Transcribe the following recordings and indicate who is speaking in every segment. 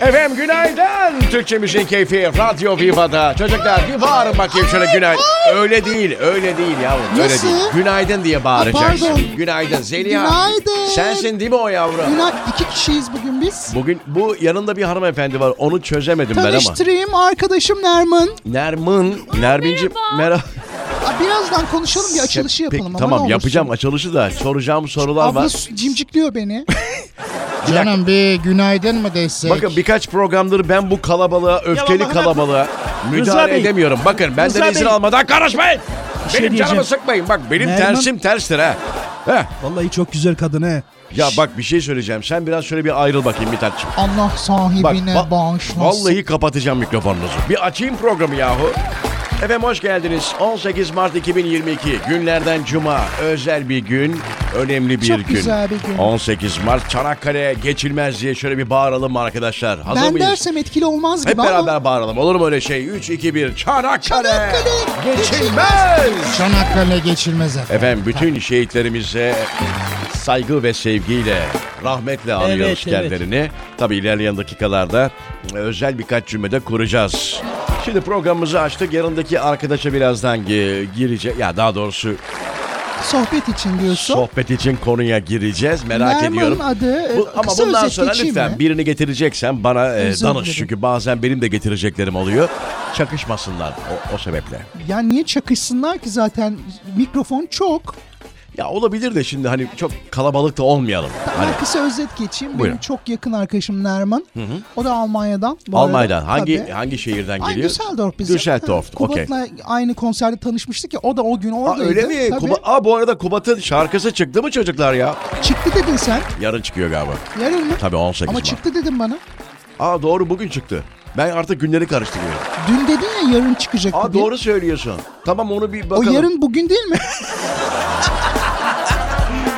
Speaker 1: Efendim günaydın. Türkçe Müziğin Keyfi Radyo Viva'da. Çocuklar bir bağırın bakayım şöyle günaydın. Öyle değil, öyle değil yavrum. Öyle
Speaker 2: Nasıl?
Speaker 1: değil. Günaydın diye bağıracaksın.
Speaker 2: Ha, pardon.
Speaker 1: Günaydın Zeliha.
Speaker 2: Günaydın.
Speaker 1: Sensin değil mi o yavrum?
Speaker 2: Günah iki kişiyiz bugün biz.
Speaker 1: Bugün bu yanında bir hanımefendi var. Onu çözemedim ben ama.
Speaker 2: Tanıştırayım arkadaşım Nermin.
Speaker 1: Nermin, Nermin'cim merhaba.
Speaker 2: Aa, birazdan konuşalım bir açılışı
Speaker 1: Şey, Peki,
Speaker 2: yapalım ama ne
Speaker 1: Tamam
Speaker 2: olursun.
Speaker 1: yapacağım açılışı da soracağım sorular
Speaker 2: Abla
Speaker 1: var.
Speaker 2: su- cimcikliyor beni.
Speaker 3: Canım bir günaydın mı desek?
Speaker 1: Bakın birkaç programdır ben bu kalabalığa, öfkeli
Speaker 4: bak-
Speaker 1: kalabalığa müdahale
Speaker 4: Bey.
Speaker 1: edemiyorum. Bakın benden
Speaker 4: Rıza
Speaker 1: izin
Speaker 4: Bey.
Speaker 1: almadan karışmayın.
Speaker 4: şey
Speaker 1: benim canımı
Speaker 4: diyeceğim.
Speaker 1: sıkmayın. Bak benim
Speaker 4: Nerman-
Speaker 1: tersim terstir ha. Heh.
Speaker 4: Vallahi çok güzel kadın he.
Speaker 1: Ya bak bir şey söyleyeceğim. Sen biraz şöyle bir ayrıl bakayım Mithat'cığım.
Speaker 2: Allah
Speaker 1: Bak,
Speaker 2: sahibine
Speaker 1: va-
Speaker 2: bağışlasın.
Speaker 1: vallahi kapatacağım mikrofonunuzu. Bir açayım programı yahu. Efendim hoş geldiniz. 18 Mart 2022 günlerden cuma. Özel bir gün, önemli bir
Speaker 2: Çok
Speaker 1: gün.
Speaker 2: güzel bir gün.
Speaker 1: 18 Mart Çanakkale geçilmez diye şöyle bir bağıralım arkadaşlar. Hazır
Speaker 2: Ben
Speaker 1: mıyız?
Speaker 2: dersem etkili olmaz gibi
Speaker 1: Hep beraber
Speaker 2: ama
Speaker 1: bağıralım. Olur mu öyle şey? 3, 2, 1. Çanakkale.
Speaker 2: Çanakkale
Speaker 1: Geçilmez.
Speaker 3: Çanakkale geçilmez efendim.
Speaker 1: Efendim bütün şehitlerimize saygı ve sevgiyle, rahmetle anıyoruz
Speaker 4: evet.
Speaker 1: kendilerini. Tabii ilerleyen dakikalarda özel birkaç cümlede kuracağız. Şimdi programımızı açtık. Yarındaki arkadaşa birazdan gi- gireceğiz. Ya daha doğrusu
Speaker 2: sohbet için diyorsun.
Speaker 1: sohbet için konuya gireceğiz. Merak
Speaker 2: Nerman'ın
Speaker 1: ediyorum.
Speaker 2: adı, e,
Speaker 1: Bu- ama
Speaker 2: kısa
Speaker 1: bundan
Speaker 2: özet
Speaker 1: sonra
Speaker 2: geçeyim
Speaker 1: lütfen
Speaker 2: mi?
Speaker 1: birini getireceksen bana e,
Speaker 2: Özür
Speaker 1: danış.
Speaker 2: dilerim.
Speaker 1: Çünkü bazen benim de getireceklerim oluyor. Çakışmasınlar o, o sebeple.
Speaker 2: Ya niye çakışsınlar ki zaten mikrofon çok.
Speaker 1: Ya olabilir de şimdi hani çok kalabalık da olmayalım. Hani
Speaker 2: Ben kısa özet geçeyim.
Speaker 1: Buyurun.
Speaker 2: Benim çok yakın arkadaşım Nermin. O da Almanya'dan. bu arada.
Speaker 1: Almanya'dan hangi
Speaker 2: Tabii.
Speaker 1: hangi şehirden
Speaker 2: Ay
Speaker 1: geliyor?
Speaker 2: Düsseldorf bizim.
Speaker 1: Düsseldorf.
Speaker 2: Ha,
Speaker 1: Okey.
Speaker 2: Kubat'la aynı konserde tanışmıştık ya o da o gün
Speaker 1: Aa,
Speaker 2: oradaydı.
Speaker 1: öyle mi?
Speaker 2: Tabii.
Speaker 1: Kuba, aa, bu arada Kubat'ın şarkısı çıktı mı çocuklar ya?
Speaker 2: Çıktı dedin sen.
Speaker 1: Yarın çıkıyor galiba.
Speaker 2: Yarın mı?
Speaker 1: Tabii 18
Speaker 2: Ama
Speaker 1: Mart.
Speaker 2: çıktı dedin bana.
Speaker 1: Aa doğru bugün çıktı. Ben artık günleri karıştırıyorum.
Speaker 2: Dün dedin ya yarın çıkacak.
Speaker 1: Aa
Speaker 2: diye.
Speaker 1: doğru söylüyorsun. Tamam onu bir
Speaker 2: O
Speaker 1: bakalım.
Speaker 2: yarın bugün değil mi?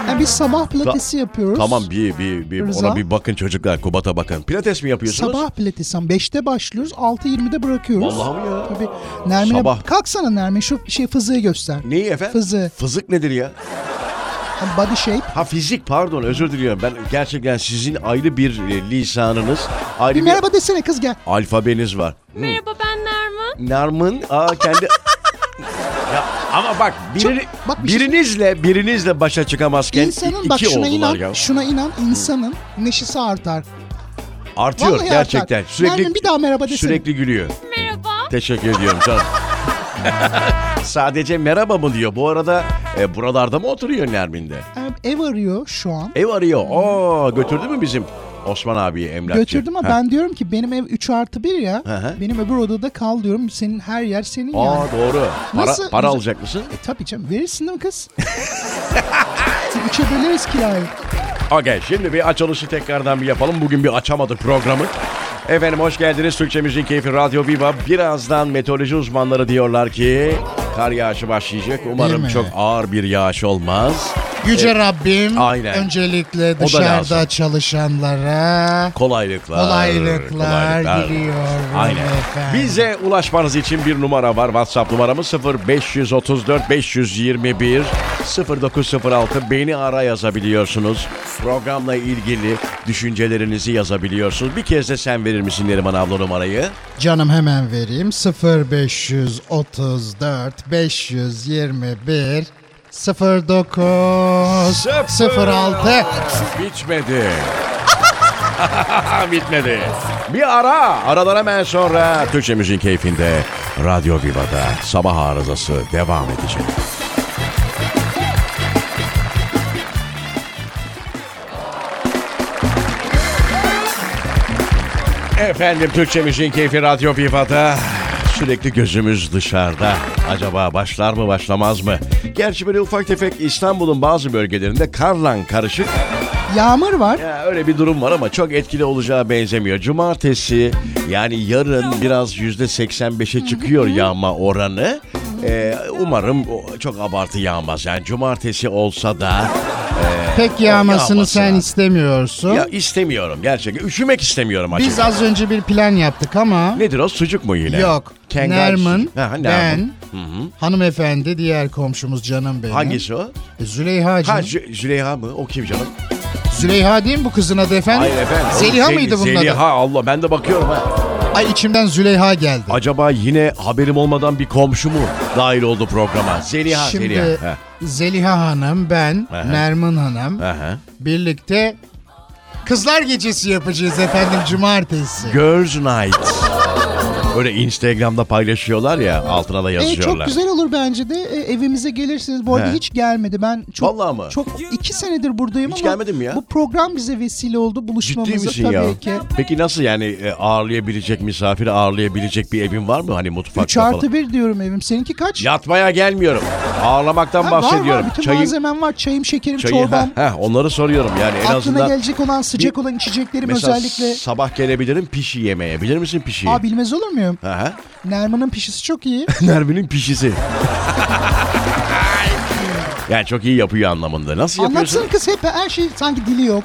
Speaker 2: yani biz sabah pilatesi
Speaker 1: Ta-
Speaker 2: yapıyoruz.
Speaker 1: Tamam bir bir bir
Speaker 2: Rıza.
Speaker 1: ona bir bakın çocuklar Kubat'a bakın. Pilates mi yapıyorsunuz?
Speaker 2: Sabah pilatesi. 5'te başlıyoruz. 6.20'de bırakıyoruz.
Speaker 1: Vallahi mi ya?
Speaker 2: Tabii. Nermin'e
Speaker 1: Sabah.
Speaker 2: kalksana Nermin şu şey fızığı göster.
Speaker 1: Neyi efendim?
Speaker 2: Fızı.
Speaker 1: Fızık nedir ya?
Speaker 2: Yani Body shape.
Speaker 1: Ha fizik pardon özür diliyorum. Ben gerçekten sizin ayrı bir e, lisanınız, ayrı
Speaker 2: Bir
Speaker 1: bir,
Speaker 2: merhaba desene kız gel.
Speaker 1: alfabeniz var.
Speaker 5: Merhaba ben Nermin.
Speaker 1: Narmın aa kendi Ya ama bak biri-
Speaker 2: Çok- bak bir şey-
Speaker 1: birinizle birinizle başa çıkamazken i-
Speaker 2: İnsanın
Speaker 1: iki
Speaker 2: bak şuna
Speaker 1: oldular
Speaker 2: inan,
Speaker 1: ya.
Speaker 2: şuna inan insanın neşesi artar.
Speaker 1: Artıyor
Speaker 2: Vallahi
Speaker 1: gerçekten.
Speaker 2: artar.
Speaker 1: Sürekli
Speaker 2: Nermin bir daha merhaba desene.
Speaker 1: Sürekli gülüyor.
Speaker 5: Merhaba.
Speaker 1: Teşekkür ediyorum canım. Sadece merhaba mı diyor. Bu arada e, buralarda mı oturuyor Nermin de?
Speaker 2: Ev- Ev arıyor şu an.
Speaker 1: Ev arıyor. Oo götürdü mü bizim Osman abiyi emlakçı?
Speaker 2: Götürdüm ama
Speaker 1: Ha.
Speaker 2: ben diyorum ki benim ev 3 artı 1 ya.
Speaker 1: Hı hı.
Speaker 2: Benim öbür odada kal diyorum. Senin her yer senin
Speaker 1: Aa
Speaker 2: yani.
Speaker 1: doğru. Para,
Speaker 2: Nasıl-
Speaker 1: para
Speaker 2: Nasıl-
Speaker 1: alacak mısın?
Speaker 2: E tabii canım verirsin değil mi kız? Sen Üçe böleriz kirayı.
Speaker 1: Okey şimdi bir açılışı tekrardan bir yapalım. Bugün bir açamadık programı. Efendim hoş geldiniz Türkçe Müziğin Keyfi Radyo Viva. Birazdan meteoroloji uzmanları diyorlar ki kar yağışı başlayacak. Umarım
Speaker 3: mi?
Speaker 1: çok ağır bir yağış olmaz.
Speaker 3: Yüce Rabbim
Speaker 1: aynen.
Speaker 3: öncelikle
Speaker 1: da lazım.
Speaker 3: dışarıda çalışanlara
Speaker 1: Kolaylıklar.
Speaker 3: Kolaylıklar diliyorum
Speaker 1: Aynen.
Speaker 3: efendim.
Speaker 1: Bize ulaşmanız için bir numara var. WhatsApp numaramız 0534 521 0906. Beni ara yazabiliyorsunuz. Programla ilgili düşüncelerinizi yazabiliyorsunuz. Bir kez de sen verir misin Neriman abla numarayı?
Speaker 3: canım hemen vereyim 0534 521 09 06
Speaker 1: Bitmedi. Bitmedi. Bir ara. Aradan hemen sonra Türkçe Müziğin Keyfinde Radyo Viva'da sabah arızası devam edecek. Efendim Türkçe Müziğin Keyfi Radyo Viva'da sürekli gözümüz dışarıda. Acaba başlar mı başlamaz mı? Gerçi böyle ufak tefek İstanbul'un bazı bölgelerinde karla karışık
Speaker 2: Yağmur var.
Speaker 1: ya öyle bir durum var ama çok etkili olacağı benzemiyor. Cumartesi yani yarın biraz yüzde 85'e çıkıyor yağma oranı. Ee, umarım o- çok abartı yağmaz. Yani cumartesi olsa da
Speaker 3: Pek yağmasını
Speaker 1: yağması
Speaker 3: sen
Speaker 1: lazım.
Speaker 3: istemiyorsun.
Speaker 1: ya istemiyorum gerçekten. Üşümek istemiyorum açıkçası.
Speaker 3: Biz az önce bir plan yaptık ama
Speaker 1: Nedir o sucuk mu yine?
Speaker 3: yok.
Speaker 1: Kengal
Speaker 3: Nermin,
Speaker 1: sucuk. Ha, Nermin.
Speaker 3: ben, hanımefendi, diğer komşumuz canım benim. E,
Speaker 1: Hangisi o?
Speaker 3: Züleyha'cığım.
Speaker 1: Ha Zü- Züleyha mı? O kim canım?
Speaker 3: Züleyha değil mi bu kızın adı efendim?
Speaker 1: Hayır efendim.
Speaker 3: Zeliha
Speaker 1: Zel-
Speaker 3: mıydı bunun adı?
Speaker 1: Zeliha Allah ben de bakıyorum ha.
Speaker 3: Ay içimden Züleyha geldi.
Speaker 1: Acaba yine haberim olmadan bir komşu mu dahil oldu programa? Zeliha
Speaker 3: Şimdi
Speaker 1: Zeliha. Ha.
Speaker 3: Zeliha Hanım, ben,
Speaker 1: Aha.
Speaker 3: Nermin Hanım
Speaker 1: Aha.
Speaker 3: birlikte Kızlar Gecesi yapacağız efendim cumartesi.
Speaker 1: Girls Night. Böyle Instagram'da paylaşıyorlar ya altına da
Speaker 2: E,
Speaker 1: yazıyorlar.
Speaker 2: çok güzel olur bence de. E, evimize gelirsiniz. Bu arada
Speaker 1: He.
Speaker 2: hiç gelmedi. Ben çok
Speaker 1: Vallahi mı?
Speaker 2: çok iki senedir buradayım
Speaker 1: Hiç
Speaker 2: ama
Speaker 1: gelmedin mi ya?
Speaker 2: bu program bize vesile oldu buluşmamıza
Speaker 1: Ciddi misin
Speaker 2: tabii
Speaker 1: ya?
Speaker 2: ki.
Speaker 1: Peki nasıl yani e, ağırlayabilecek misafir ağırlayabilecek bir evin var mı hani mutfakta
Speaker 2: 3
Speaker 1: falan?
Speaker 2: artı 1 diyorum evim. Seninki kaç?
Speaker 1: Yatmaya gelmiyorum. Ağırlamaktan
Speaker 2: Ha, Var,
Speaker 1: bahsediyorum.
Speaker 2: var. Bütün
Speaker 1: Çayım-
Speaker 2: malzemem var. Çayım, şekerim,
Speaker 1: çayı,
Speaker 2: çorbam.
Speaker 1: heh, heh, onları soruyorum yani en
Speaker 2: Aklına
Speaker 1: azından.
Speaker 2: gelecek olan sıcak olan içeceklerim
Speaker 1: Mesela
Speaker 2: özellikle.
Speaker 1: sabah gelebilirim pişi yemeye. Bilir misin pişiyi?
Speaker 2: Aa bilmez olur muyum?
Speaker 1: Hı hı.
Speaker 2: Nerman'ın pişisi çok iyi.
Speaker 1: Nermin'in pişisi. yani çok iyi yapıyor anlamında. Nasıl yapıyorsun?
Speaker 2: Anlatsın kız hep her şey sanki dili yok.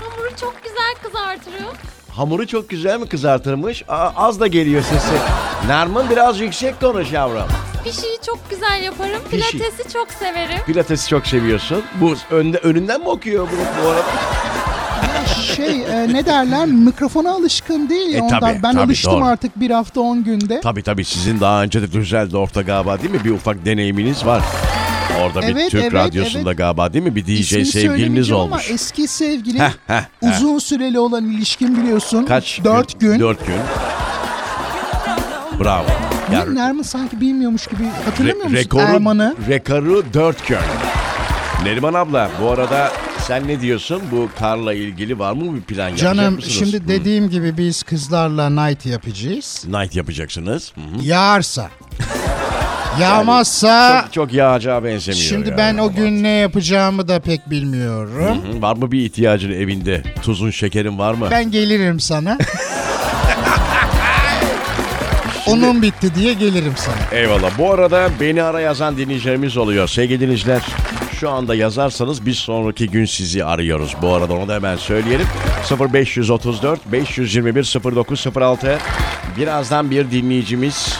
Speaker 5: Hamuru çok güzel kızartırım.
Speaker 1: Hamuru çok güzel mi kızartılmış? Aa, az da geliyor sesi. Nermin biraz yüksek konuş yavrum.
Speaker 5: Pişiyi çok güzel yaparım.
Speaker 1: Pişi.
Speaker 5: Pilatesi çok severim.
Speaker 1: Pilatesi çok seviyorsun. Bu önde önünden mi okuyor bu, bu arada?
Speaker 2: Şey e, ne derler mikrofona alışkın değil ya
Speaker 1: E,
Speaker 2: ondan.
Speaker 1: tabii,
Speaker 2: ben
Speaker 1: tabii,
Speaker 2: alıştım
Speaker 1: doğru.
Speaker 2: artık bir hafta 10 günde.
Speaker 1: Tabii tabii sizin daha önce de Düsseldorf'ta galiba değil mi? Bir ufak deneyiminiz var. Orada bir
Speaker 2: Evet,
Speaker 1: Türk
Speaker 2: evet,
Speaker 1: radyosunda
Speaker 2: evet.
Speaker 1: galiba değil mi? Bir DJ
Speaker 2: İsmini
Speaker 1: sevgiliniz
Speaker 2: söylemeyeceğim ama
Speaker 1: olmuş.
Speaker 2: eski sevgili
Speaker 1: Heh, heh, heh.
Speaker 2: uzun süreli olan ilişkin biliyorsun.
Speaker 1: Kaç?
Speaker 2: 4 gün.
Speaker 1: Dört gün. Bravo.
Speaker 2: Niye
Speaker 1: Yani
Speaker 2: Nermin sanki bilmiyormuş gibi hatırlamıyor
Speaker 1: re-
Speaker 2: musun
Speaker 1: rekoru,
Speaker 2: Erman'ı?
Speaker 1: rekoru dört gün. Neriman abla bu arada sen ne diyorsun? Bu karla ilgili var mı bir plan yapacak
Speaker 3: Canım
Speaker 1: mısınız? Hmm.
Speaker 3: şimdi
Speaker 1: Hı.
Speaker 3: dediğim gibi biz kızlarla night yapacağız.
Speaker 1: Night yapacaksınız. Hmm. Hı hı.
Speaker 3: Yağarsa. Yağmazsa
Speaker 1: Çok, çok yağacağa benzemiyor.
Speaker 3: şimdi
Speaker 1: ya.
Speaker 3: ben o gün ne yapacağımı da pek bilmiyorum.
Speaker 1: Hı, Hmm, Var mı bir ihtiyacın evinde? Tuzun, şekerin var mı?
Speaker 3: Ben gelirim sana. Onun bitti diye gelirim sana.
Speaker 1: Eyvallah. Bu arada beni ara yazan dinleyicilerimiz oluyor. Sevgili dinleyiciler şu anda yazarsanız biz sonraki gün sizi arıyoruz. Bu arada onu da hemen söyleyelim. 0534 521 0906 Birazdan bir dinleyicimiz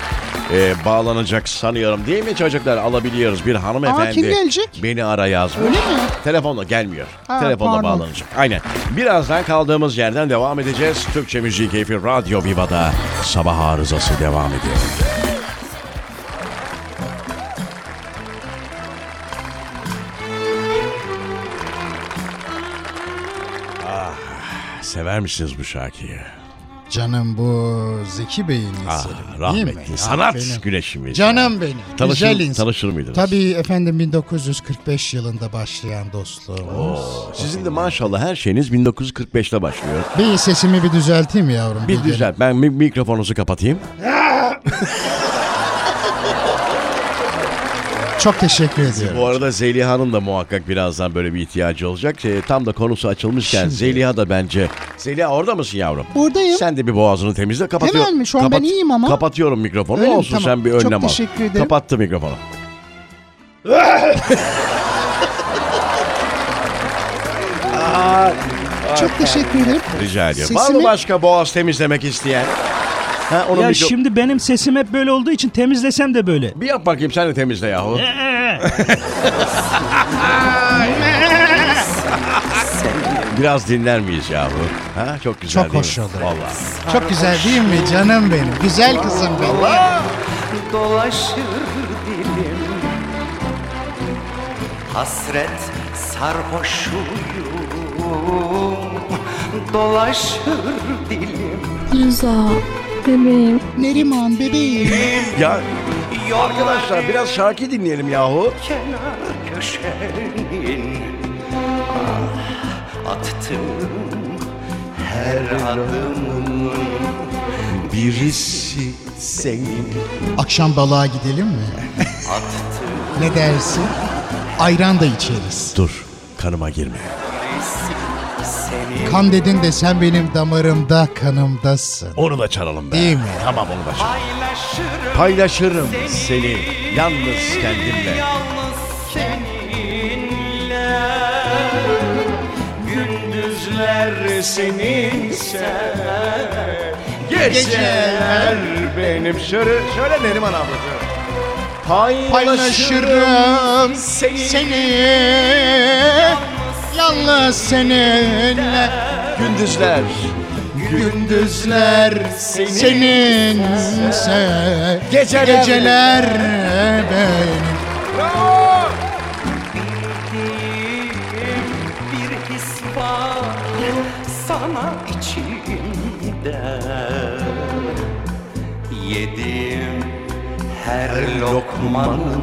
Speaker 1: e, bağlanacak sanıyorum değil mi çocuklar? Alabiliyoruz bir hanımefendi.
Speaker 2: Aa, kim gelecek?
Speaker 1: Beni ara yazmış.
Speaker 2: Öyle mi?
Speaker 1: Telefonla gelmiyor.
Speaker 2: Ha,
Speaker 1: Telefonla
Speaker 2: pardon.
Speaker 1: bağlanacak. Aynen. Birazdan kaldığımız yerden devam edeceğiz. Türkçe Müziği Keyfi Radyo Viva'da sabah arızası devam ediyor. Ah, sever misiniz bu şarkıyı?
Speaker 3: Canım bu Zeki Bey'in eseri.
Speaker 1: Ah,
Speaker 3: değil mi?
Speaker 1: rahmetli
Speaker 3: Ah,
Speaker 1: sanat
Speaker 3: benim.
Speaker 1: güneşimiz.
Speaker 3: Canım benim.
Speaker 1: Tanışır-
Speaker 3: Güzel insan.
Speaker 1: tanışır mıydınız?
Speaker 3: Tabii efendim 1945 yılında başlayan dostluğumuz.
Speaker 1: Sizin de maşallah her şeyiniz 1945'te başlıyor.
Speaker 3: Bir sesimi bir düzelteyim yavrum.
Speaker 1: Bir
Speaker 3: gelin.
Speaker 1: düzel. Ben mi- mikrofonunuzu kapatayım.
Speaker 3: Çok teşekkür ediyorum.
Speaker 1: Bu arada Zeliha'nın da muhakkak birazdan böyle bir ihtiyacı olacak. Ee, tam da konusu açılmışken Zeliha da bence... Zeliha orada mısın yavrum?
Speaker 2: Buradayım.
Speaker 1: Sen de bir boğazını temizle. Kapatıyor.
Speaker 2: Hemen mi? Şu an ben iyiyim ama.
Speaker 1: Kapatıyorum mikrofonu.
Speaker 2: Öyle mi?
Speaker 1: Olsun
Speaker 2: Tamam.
Speaker 1: sen bir
Speaker 2: Çok
Speaker 1: önlem al.
Speaker 2: teşekkür ederim.
Speaker 1: Kapattı mikrofonu.
Speaker 2: Çok teşekkür ederim.
Speaker 1: Rica ediyorum. Var mı
Speaker 2: Sesimi-
Speaker 1: başka boğaz temizlemek isteyen? Ha, onu
Speaker 4: Ya
Speaker 1: bir,
Speaker 4: şimdi benim sesim hep böyle olduğu için temizlesem de böyle.
Speaker 1: bir yap bakayım sen de temizle yahu. Biraz dinler miyiz yahu? Ha, çok güzel
Speaker 3: Çok
Speaker 1: değil
Speaker 3: hoş
Speaker 1: mi?
Speaker 3: oldu.
Speaker 1: Vallahi.
Speaker 3: Çok güzel değil mi canım benim? Güzel kızım benim.
Speaker 6: dolaşır dilim Hasret sarhoşuyum Dolaşır dilim
Speaker 5: Rıza, bebeğim.
Speaker 2: Neriman bebeğim.
Speaker 1: Ya arkadaşlar biraz şarkı dinleyelim yahu.
Speaker 6: Kenar köşenin ah, Attığım her adımın
Speaker 1: Birisi senin.
Speaker 3: Akşam balığa gidelim mi?
Speaker 6: Attığım
Speaker 3: Ne dersin? Ayran da içeriz.
Speaker 1: Dur kanıma girme.
Speaker 6: senin
Speaker 3: Kan dedin de sen benim damarımda kanımdasın.
Speaker 1: Onu da çalalım be.
Speaker 3: Değil mi?
Speaker 1: Tamam onu da çalalım. Paylaşırım
Speaker 6: Paylaşırım
Speaker 1: seni yalnız kendimle.
Speaker 6: Yalnız seninle Gündüzler seninse
Speaker 1: Geceler benim sürü. Şöyle Neriman abla. Paylaşırım.
Speaker 3: Paylaşırım
Speaker 6: seni
Speaker 3: seni Yalnız seninle
Speaker 1: Gündüzler.
Speaker 3: gündüzler seninse
Speaker 1: Geceler.
Speaker 3: geceler benim.
Speaker 6: Bildiğim bir his var sana içimde Yediğim her lokmanın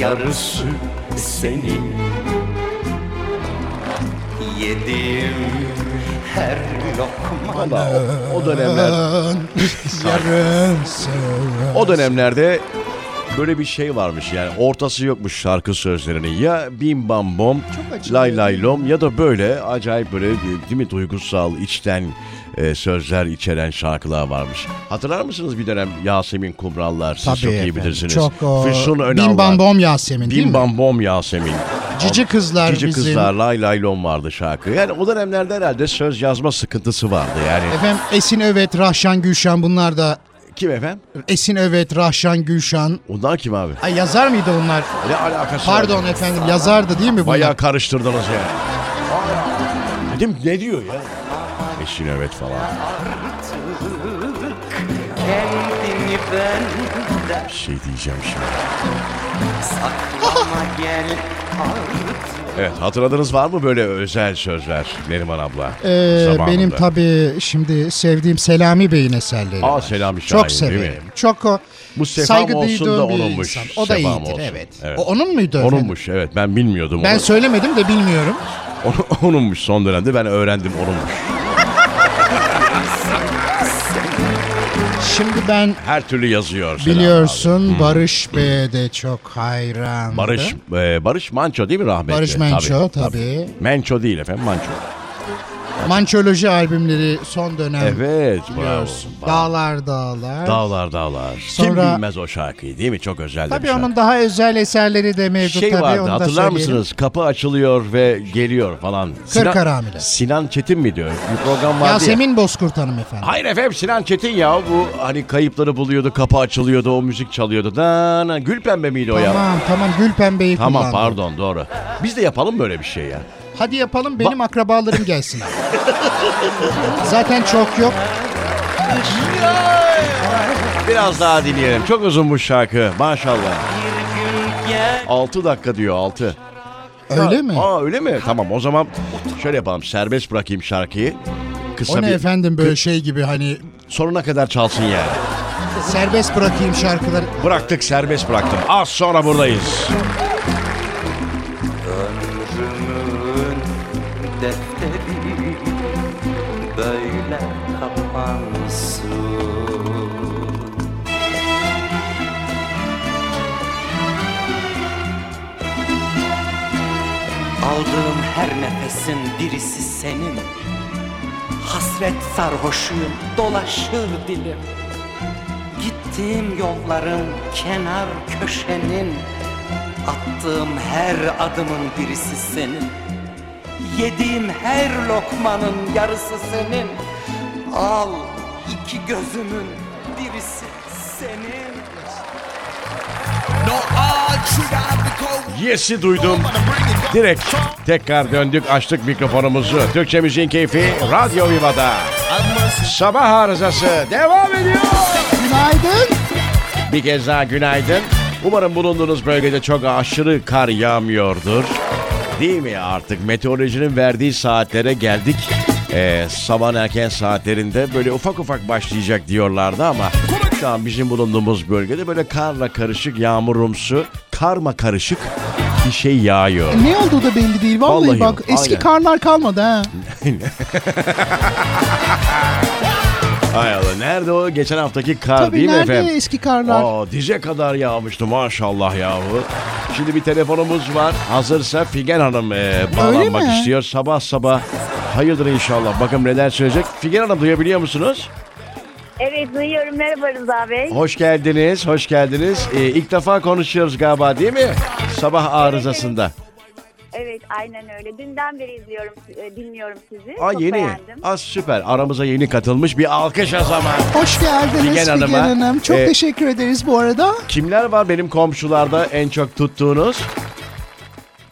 Speaker 6: yarısı senin Yediğim her lokmanın
Speaker 1: Valla o, o dönemler,
Speaker 3: Yarınsı
Speaker 1: o dönemlerde böyle bir şey varmış yani ortası yokmuş şarkı sözlerinin. Ya bim bam bom,
Speaker 2: acı
Speaker 1: lay
Speaker 2: bir-
Speaker 1: lay lom ya da böyle acayip böyle değil mi duygusal içten e, sözler içeren şarkılar varmış. Hatırlar mısınız bir dönem Yasemin Kumrallar siz çok iyi
Speaker 3: efendim,
Speaker 1: bilirsiniz.
Speaker 3: Çok o.
Speaker 1: Füsun Önallar.
Speaker 3: Bim Bam Bom Yasemin değil
Speaker 1: Bim
Speaker 3: mi?
Speaker 1: bam bom Yasemin.
Speaker 3: Cici kızlar
Speaker 1: Cici
Speaker 3: bizim.
Speaker 1: kızlar lay lay lom vardı şarkı. Yani o dönemlerde herhalde söz yazma sıkıntısı vardı yani.
Speaker 3: Efendim Esin Övet, Rahşan Gülşen bunlar da
Speaker 1: Kim efendim?
Speaker 3: Esin Övet, Rahşan Gülşen.
Speaker 1: Onlar kim abi?
Speaker 3: Ay yazar mıydı onlar?
Speaker 1: Ne alakası var?
Speaker 3: Pardon efendim yazardı değil mi bunlar?
Speaker 1: Bayağı karıştırdınız yani. Dedim ne diyor ya? Eşin evet falan.
Speaker 6: Kendini benden
Speaker 1: Bir şey diyeceğim şimdi.
Speaker 6: saklama gel artık
Speaker 1: Evet hatırladınız var mı böyle özel sözler Neriman abla?
Speaker 3: Ee,
Speaker 1: zamanında?
Speaker 3: benim tabii şimdi sevdiğim Selami Bey'in eserleri.
Speaker 1: Aa
Speaker 3: var.
Speaker 1: Selami Şahin
Speaker 3: Çok
Speaker 1: değil mi?
Speaker 3: severim. Çok o
Speaker 1: Bu sefam
Speaker 3: saygı
Speaker 1: olsun da
Speaker 3: duyduğum bir
Speaker 1: onunmuş.
Speaker 3: insan. O da
Speaker 1: Sefam
Speaker 3: iyidir
Speaker 1: olsun.
Speaker 3: evet.
Speaker 1: Evet.
Speaker 3: O onun muydu efendim?
Speaker 1: Onunmuş evet ben bilmiyordum
Speaker 3: Ben
Speaker 1: onu.
Speaker 3: söylemedim de bilmiyorum.
Speaker 1: Onu- Onunmuş son dönemde ben öğrendim onunmuş.
Speaker 3: Şimdi ben
Speaker 1: Her türlü yazıyor Selami abi. Hmm.
Speaker 3: biliyorsun Barış Bey'e de çok hayrandım.
Speaker 1: Barış, e, Barış Manço değil mi rahmetli?
Speaker 3: Barış Manço tabii.
Speaker 1: Manço değil efendim Manço.
Speaker 3: Mançoloji albümleri son dönem
Speaker 1: Evet bravo.
Speaker 3: biliyorsun.
Speaker 1: bravo.
Speaker 3: Dağlar Dağlar.
Speaker 1: Dağlar dağlar. Kim
Speaker 3: Sonra-
Speaker 1: bilmez o şarkıyı değil mi? Çok özel de bir
Speaker 3: Tabii
Speaker 1: şarkı.
Speaker 3: onun daha özel eserleri de mevcut
Speaker 1: şey
Speaker 3: tabii
Speaker 1: vardı
Speaker 3: onu da
Speaker 1: hatırlar
Speaker 3: söyleyelim.
Speaker 1: mısınız? Kapı açılıyor ve geliyor falan.
Speaker 3: Karamele.
Speaker 1: Sinan Çetin mi diyor? Bir program vardı ya.
Speaker 3: Yasemin Bozkurt Hanım efendim.
Speaker 1: Hayır efendim Sinan Çetin ya bu hani kayıpları buluyordu kapı açılıyordu o müzik çalıyordu. Dana, gül pembe miydi o ya?
Speaker 3: Tamam tamam Gül Pembe'yi
Speaker 1: Tamam
Speaker 3: kullandım.
Speaker 1: pardon doğru. Biz de yapalım böyle bir şey ya.
Speaker 3: Hadi yapalım benim akrabalarım gelsin. Zaten çok yok.
Speaker 1: Biraz daha dinleyelim. Çok uzun bu şarkı maşallah. 6 dakika diyor 6.
Speaker 3: Öyle mi?
Speaker 1: Aa öyle mi? Tamam o zaman şöyle yapalım serbest bırakayım şarkıyı. Kısa
Speaker 3: O ne
Speaker 1: bir-
Speaker 3: efendim böyle şey gibi hani
Speaker 1: Sonuna kadar çalsın yani.
Speaker 3: serbest bırakayım şarkıları.
Speaker 1: Bıraktık serbest bıraktım. Az sonra buradayız.
Speaker 6: Ömrümün defteri böyle kapansın Aldığım her nefesin birisi senin Hasret sarhoşuyum dolaşır dilim Gittiğim yolların kenar köşenin Attığım her adımın birisi senin Yediğim her lokmanın yarısı senin Al iki gözümün birisi senin
Speaker 1: Yes'i duydum. Direkt tekrar döndük açtık mikrofonumuzu. Türkçe Müziğin Keyfi Radyo Viva'da. Sabah arızası devam ediyor.
Speaker 3: Günaydın.
Speaker 1: Bir kez daha günaydın. Umarım bulunduğunuz bölgede çok aşırı kar yağmıyordur. Değil mi artık meteorolojinin verdiği saatlere geldik. Ee, sabah erken saatlerinde böyle ufak ufak başlayacak diyorlardı ama şu an bizim bulunduğumuz bölgede böyle karla karışık yağmurumsu, karma karışık bir şey yağıyor.
Speaker 2: Ne olduğu da belli değil. Vallahi,
Speaker 1: Vallahi
Speaker 2: bak
Speaker 1: yok,
Speaker 2: eski
Speaker 1: aynen.
Speaker 2: karlar kalmadı ha.
Speaker 1: Hay Allah nerede o geçen haftaki kar
Speaker 2: Tabii
Speaker 1: değil mi
Speaker 2: nerede
Speaker 1: efendim? Oh.
Speaker 2: eski karlar?
Speaker 1: Aa, dize kadar yağmıştı maşallah yahu. Şimdi bir telefonumuz var. Hazırsa Figen Hanım e, bağlanmak
Speaker 2: mi?
Speaker 1: istiyor. Sabah sabah. Hayırdır inşallah. Bakın neler söyleyecek. Figen Hanım duyabiliyor musunuz?
Speaker 7: Evet duyuyorum. Merhaba Rıza Bey.
Speaker 1: Hoş geldiniz, hoş geldiniz. E, ilk defa konuşuyoruz galiba değil mi? Sabah arızasında.
Speaker 7: Evet aynen öyle. Dünden beri izliyorum, e, dinliyorum sizi.
Speaker 1: Aa
Speaker 7: Çok
Speaker 1: yeni.
Speaker 7: beğendim.
Speaker 1: Az süper. Aramıza yeni katılmış bir alkış o zaman.
Speaker 2: Hoş geldiniz
Speaker 1: Figen
Speaker 2: Figen,
Speaker 1: Hanım'a.
Speaker 2: Hanım. Çok
Speaker 1: Ee,
Speaker 2: teşekkür ederiz bu arada.
Speaker 1: Kimler var benim komşularda en çok tuttuğunuz?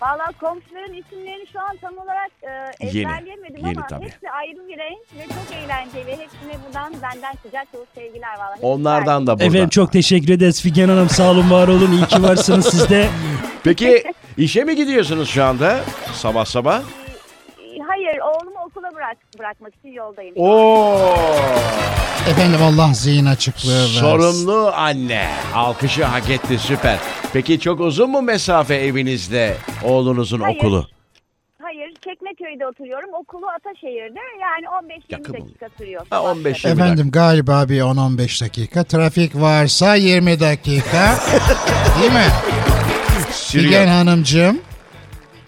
Speaker 7: Valla Valla komşuların isimlerini şu an tam olarak e,
Speaker 1: Yeni,
Speaker 7: ezberleyemedim
Speaker 1: yeni
Speaker 7: ama
Speaker 1: tabii.
Speaker 7: hepsi ayrı bir renk ve çok eğlenceli. Hepsine buradan benden sıcak dolu sevgiler valla. Hepsi
Speaker 1: Onlardan da burada.
Speaker 4: Efendim çok teşekkür ederiz Figen Hanım. Sağ olun var olun. İyi ki varsınız siz de.
Speaker 1: Peki işe mi gidiyorsunuz şu anda? Sabah sabah.
Speaker 7: süper. Hayır oğlumu okula bırak bırakmak için yoldayım.
Speaker 1: Oo!
Speaker 3: Efendim Allah zihin açıklığı versin.
Speaker 1: Sorumlu anne. Alkışı hak etti süper. Peki çok uzun mu mesafe evinizde oğlunuzun
Speaker 7: Hayır.
Speaker 1: okulu?
Speaker 7: Hayır Çekmeköy'de oturuyorum. Okulu Ataşehir'de yani 15-20
Speaker 1: Yakın
Speaker 7: dakika sürüyor.
Speaker 1: Ha, 15 20 dakika.
Speaker 3: Efendim galiba bir 10-15 dakika. Trafik varsa 20 dakika. Değil mi?
Speaker 1: Sürüyor.
Speaker 3: Figen Hanımcığım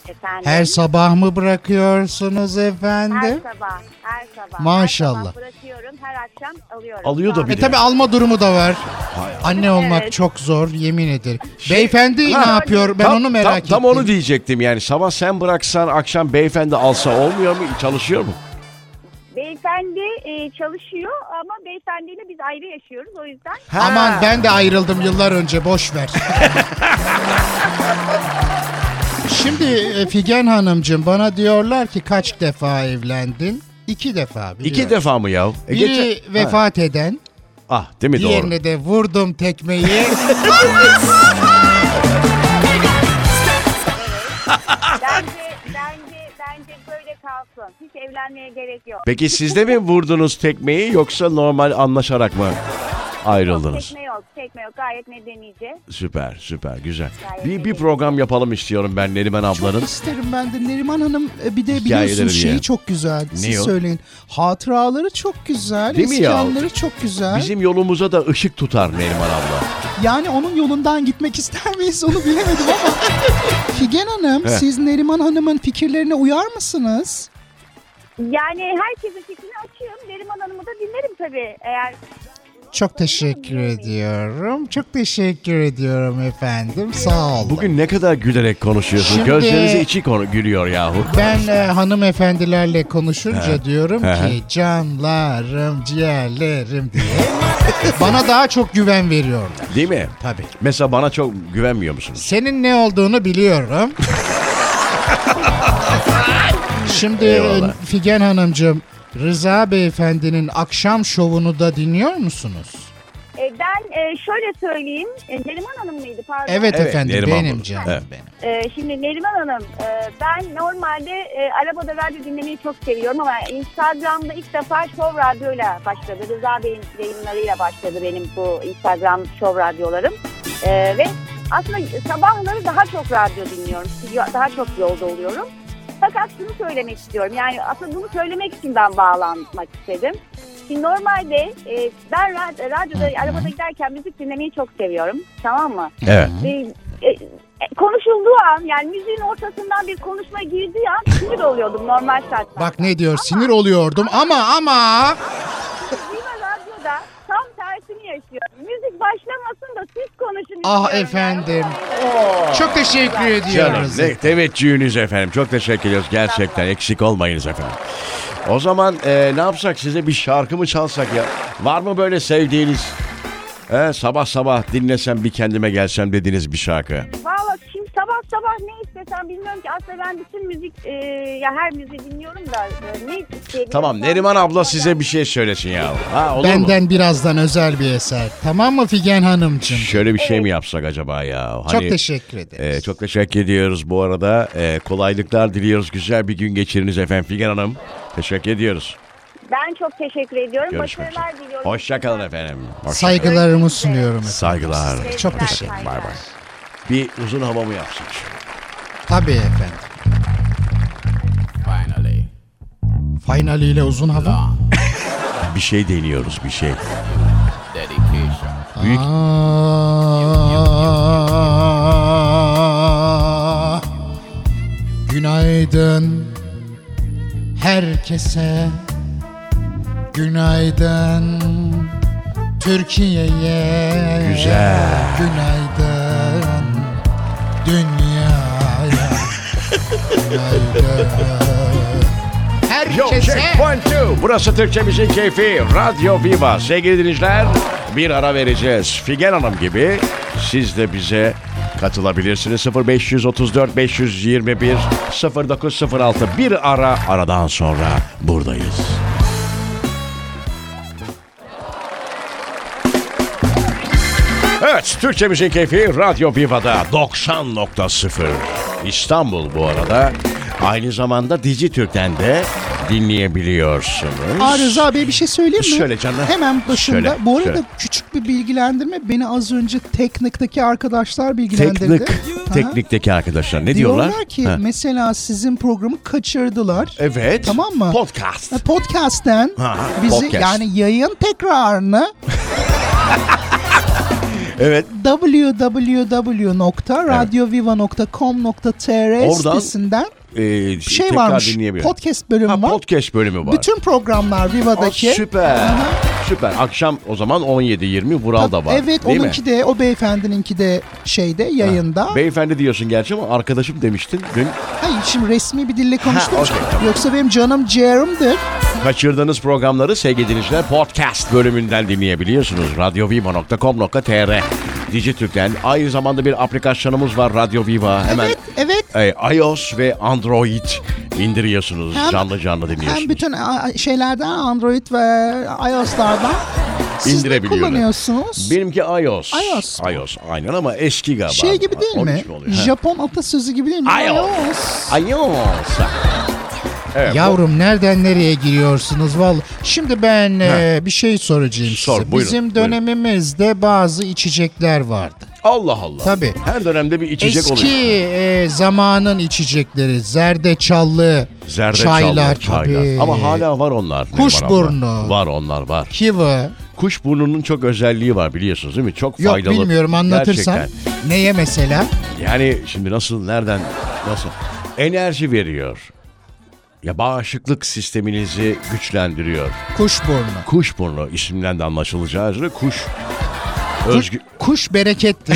Speaker 7: Efendim.
Speaker 3: her sabah mı bırakıyorsunuz efendim?
Speaker 7: Her sabah, her sabah.
Speaker 3: Maşallah.
Speaker 7: Her sabah bırakıyorum, her akşam alıyorum.
Speaker 1: Alıyor da
Speaker 7: Sonra-
Speaker 1: bir
Speaker 3: E tabi alma durumu da var. Anne olmak
Speaker 7: Evet.
Speaker 3: çok zor yemin ederim. Beyefendi
Speaker 1: Şey, Ha,
Speaker 3: ne yapıyor ben
Speaker 1: Tam-
Speaker 3: onu merak
Speaker 1: tam,
Speaker 3: ettim.
Speaker 1: Tam onu diyecektim yani. Sabah sen bıraksan akşam beyefendi alsa olmuyor mu? Çalışıyor mu?
Speaker 7: Beyefendi e, çalışıyor ama beyefendiyle biz ayrı yaşıyoruz o yüzden.
Speaker 3: Aman ben de ayrıldım yıllar önce boş ver. Şimdi e, Figen Hanımcığım bana diyorlar ki kaç defa evlendin? İki defa biliyorum.
Speaker 1: İki defa mı ya? E,
Speaker 3: Biri
Speaker 1: geçen- Ha.
Speaker 3: vefat eden,
Speaker 1: Ah değil mi doğru?
Speaker 3: diğerine de vurdum tekmeyi.
Speaker 7: Bence, bence, bence böyle kalsın. Hiç evlenmeye gerek yok.
Speaker 1: Peki siz de mi vurdunuz tekmeyi yoksa normal anlaşarak mı ayrıldınız?
Speaker 7: Tekme yok, tekme yok. Gayet medenice.
Speaker 1: Süper süper güzel.
Speaker 7: Gayet
Speaker 1: Bir, bir
Speaker 7: iyi.
Speaker 1: program yapalım istiyorum ben Neriman ablanın.
Speaker 2: Çok isterim ben de Neriman Hanım e, bir de
Speaker 1: Hikayeleri
Speaker 2: biliyorsunuz
Speaker 1: diye.
Speaker 2: şeyi çok güzel. Siz
Speaker 1: o?
Speaker 2: söyleyin. Hatıraları çok güzel.
Speaker 1: Değil mi ya? şey-
Speaker 2: iskanları çok güzel.
Speaker 1: Bizim yolumuza da ışık tutar Neriman abla.
Speaker 2: Yani onun yolundan gitmek ister miyiz onu bilemedim ama. Figen Hanım
Speaker 1: He.
Speaker 2: siz Neriman Hanım'ın fikirlerine uyar mısınız?
Speaker 7: Yani herkesin fikrini açıyorum. Neriman Hanım'ı da dinlerim tabii. Eğer
Speaker 3: Çok teşekkür ediyorum. Çok teşekkür ediyorum efendim. Sağ olun.
Speaker 1: Bugün ne kadar gülerek konuşuyorsun.
Speaker 3: Şimdi-
Speaker 1: Gözlerinizi içi konu- gülüyor yahu.
Speaker 3: Ben e, hanımefendilerle konuşunca diyorum
Speaker 1: he.
Speaker 3: ki canlarım, ciğerlerim diye. Bana daha çok güven veriyorlar.
Speaker 1: Değil mi?
Speaker 3: Tabii.
Speaker 1: Mesela bana çok güvenmiyor musunuz?
Speaker 3: Senin ne olduğunu biliyorum. Şimdi e,
Speaker 1: Eyvallah.
Speaker 3: Figen Hanımcığım, Rıza Beyefendi'nin akşam şovunu da dinliyor musunuz?
Speaker 7: e, ben e, şöyle söyleyeyim. E, Neriman Hanım mıydı? Pardon.
Speaker 3: Evet,
Speaker 1: Evet,
Speaker 3: efendim,
Speaker 1: Neriman
Speaker 3: benim
Speaker 1: Hanım.
Speaker 3: canım
Speaker 1: Evet.
Speaker 3: benim.
Speaker 7: Ee, şimdi Neriman Hanım, e, ben normalde e, arabada radyo dinlemeyi çok seviyorum ama Instagram'da ilk defa Show Radyo'yla başladı. Rıza Bey'in yayınlarıyla başladı benim bu Instagram Show Radyolarım. E, ve aslında sabahları daha çok radyo dinliyorum, yo- daha çok yolda oluyorum. Fakat şunu söylemek istiyorum, yani aslında bunu söylemek için ben bağlanmak istedim. Şimdi normalde e, ben ra- radyoda arabada giderken müzik dinlemeyi çok seviyorum, tamam mı?
Speaker 1: Evet.
Speaker 7: e, e, e, konuşulduğu an yani müziğin ortasından bir konuşma girdiği an sinir oluyordum normal şartlarda.
Speaker 3: Bak ne diyor, sinir oluyordum ama ama...
Speaker 7: Viva Radyo'da tam tersini yaşıyorum. Müzik başlamasın da siz konuşun
Speaker 3: Ah
Speaker 7: istiyorum
Speaker 3: efendim.
Speaker 7: yani.
Speaker 3: Çok teşekkür
Speaker 1: Canım
Speaker 3: ediyoruz.
Speaker 1: ne teveccühünüz efendim. Çok teşekkür ediyoruz. Gerçekten eksik olmayınız efendim. O zaman e, ne yapsak size bir şarkı mı çalsak ya? Var mı böyle sevdiğiniz? He, sabah sabah dinlesem bir kendime gelsem dediğiniz bir şarkı.
Speaker 7: Valla şimdi sabah sabah ne istesem bilmiyorum ki aslında ben bütün müzik e, ya her müziği dinliyorum da e, ne isteyebilirim.
Speaker 1: Tamam Neriman abla size bir şey söylesin ya. Ha olur mu?
Speaker 3: Benden birazdan özel bir eser. Tamam mı Figen Hanımcığım?
Speaker 1: Şöyle bir şey mi yapsak acaba ya?
Speaker 3: Çok
Speaker 1: Hani-
Speaker 3: teşekkür ederiz.
Speaker 1: Ee, çok teşekkür ediyoruz bu arada. Ee, kolaylıklar diliyoruz. Güzel bir gün geçiriniz efendim Figen Hanım. Teşekkür ediyoruz.
Speaker 7: Ben çok teşekkür ediyorum.
Speaker 1: şey- Görüşmek üzere.
Speaker 7: Başarılar diliyorum.
Speaker 1: Hoşçakalın efendim. Hoşça kalın.
Speaker 3: Saygılarımı sunuyorum efendim.
Speaker 1: Saygılar.
Speaker 3: Çok
Speaker 7: Sevgiler,
Speaker 3: teşekkür
Speaker 1: Bay
Speaker 7: saygılar.
Speaker 1: bay. Bir uzun hava mı yapsak şimdi?
Speaker 3: Tabii efendim. Finally ile uzun hava.
Speaker 1: Bir şey deniyoruz bir şey.
Speaker 3: Aa, Günaydın herkese. Günaydın Türkiye'ye.
Speaker 1: Güzel.
Speaker 3: Günaydın dünyaya. Günaydın
Speaker 1: Yo, şey,
Speaker 3: herkese.
Speaker 1: Checkpoint 2. Burası Türkçemizin keyfi. Radyo Viva. Sevgili dinleyiciler bir ara vereceğiz. Figen Hanım gibi siz de bize Katılabilirsiniz 0534 521 0906 bir ara aradan sonra buradayız. Evet, Türkçe Müzik Keyfi Radyo Viva'da 90.0 İstanbul bu arada. Aynı zamanda Dijitürk'ten de dinleyebiliyorsunuz.
Speaker 2: Aa Rıza Bey bir şey söyleyeyim mi?
Speaker 1: Söyle canım.
Speaker 2: Hemen başında.
Speaker 1: Söyle,
Speaker 2: Bu arada
Speaker 1: söyle.
Speaker 2: küçük bir bilgilendirme. Beni az önce Teknik'teki arkadaşlar bilgilendirdi.
Speaker 1: Teknik,
Speaker 2: Aha.
Speaker 1: teknikteki arkadaşlar ne diyorlar?
Speaker 2: Diyorlar, ki
Speaker 1: Ha.
Speaker 2: mesela sizin programı kaçırdılar.
Speaker 1: evet.
Speaker 2: Tamam mı?
Speaker 1: Podcast.
Speaker 2: Podcast'ten
Speaker 1: Ha,
Speaker 2: bizi
Speaker 1: podcast.
Speaker 2: yani yayın tekrarını
Speaker 1: Evet.
Speaker 2: www.radioviva.com.tr
Speaker 1: Oradan
Speaker 2: sitesinden
Speaker 1: Ee,
Speaker 2: bir şey
Speaker 1: tekrar
Speaker 2: varmış.
Speaker 1: dinleyebilir.
Speaker 2: Podcast bölümü
Speaker 1: Ha,
Speaker 2: var.
Speaker 1: podcast bölümü var.
Speaker 2: Bütün programlar
Speaker 1: Aa,
Speaker 2: Viva'daki.
Speaker 1: süper.
Speaker 2: Aha.
Speaker 1: Süper. Akşam o zaman 17-20 Vural da var. değil
Speaker 2: Evet
Speaker 1: mi?
Speaker 2: onunki de o beyefendininki de şeyde yayında.
Speaker 1: Beyefendi diyorsun gerçi ama arkadaşım demiştin. Dün
Speaker 2: Hayır şimdi resmi bir dille konuştum.
Speaker 1: okey, tamam.
Speaker 2: Yoksa benim canım ciğerimdir.
Speaker 1: Kaçırdığınız programları sevgili dinleyiciler podcast bölümünden dinleyebiliyorsunuz. radyoviva.com.tr Dijitürk'ten aynı zamanda bir aplikasyonumuz var Radyo Viva. Hemen
Speaker 2: Evet evet.
Speaker 1: e, iOS ve Android indiriyorsunuz.
Speaker 2: Hem-
Speaker 1: canlı canlı dinliyorsunuz.
Speaker 2: Hem bütün a- şeylerden Android ve iOS'lardan siz ne
Speaker 1: İndirebiliyorum.
Speaker 2: kullanıyorsunuz?
Speaker 1: Benimki iOS.
Speaker 2: iOS mu?
Speaker 1: iOS aynen ama eski galiba.
Speaker 2: şey gibi değil mi?
Speaker 1: 13 oluyor. Ha.
Speaker 2: Japon atasözü gibi değil mi?
Speaker 1: iOS. iOS. Evet, E, bu-
Speaker 3: Yavrum nereden nereye giriyorsunuz vallahi. Şimdi ben e, bir şey soracağım
Speaker 1: Sor,
Speaker 3: size.
Speaker 1: buyurun,
Speaker 3: Bizim
Speaker 1: buyurun.
Speaker 3: dönemimizde bazı içecekler vardı.
Speaker 1: Allah Allah.
Speaker 3: Tabii.
Speaker 1: Her dönemde bir içecek
Speaker 3: Eski
Speaker 1: oluyor.
Speaker 3: e, zamanın içecekleri, zerdeçallı,
Speaker 1: Zerdeçallı,
Speaker 3: çaylar, tabii.
Speaker 1: Ama hala var onlar. ne
Speaker 3: Kuşburnu.
Speaker 1: var onlar? Var onlar var.
Speaker 3: kivi.
Speaker 1: Kuşburnunun çok özelliği var biliyorsunuz değil mi? Çok
Speaker 3: Yok
Speaker 1: faydalı.
Speaker 3: bilmiyorum anlatırsan.
Speaker 1: Gerçekten.
Speaker 3: Neye mesela?
Speaker 1: Yani şimdi nasıl, nereden, nasıl? Enerji veriyor. Ya bağışıklık sisteminizi güçlendiriyor.
Speaker 3: Kuşburnu.
Speaker 1: Kuşburnu isimden de anlaşılacağı üzere kuş.
Speaker 3: Kuş,
Speaker 1: Özgü,
Speaker 3: kuş bereketli.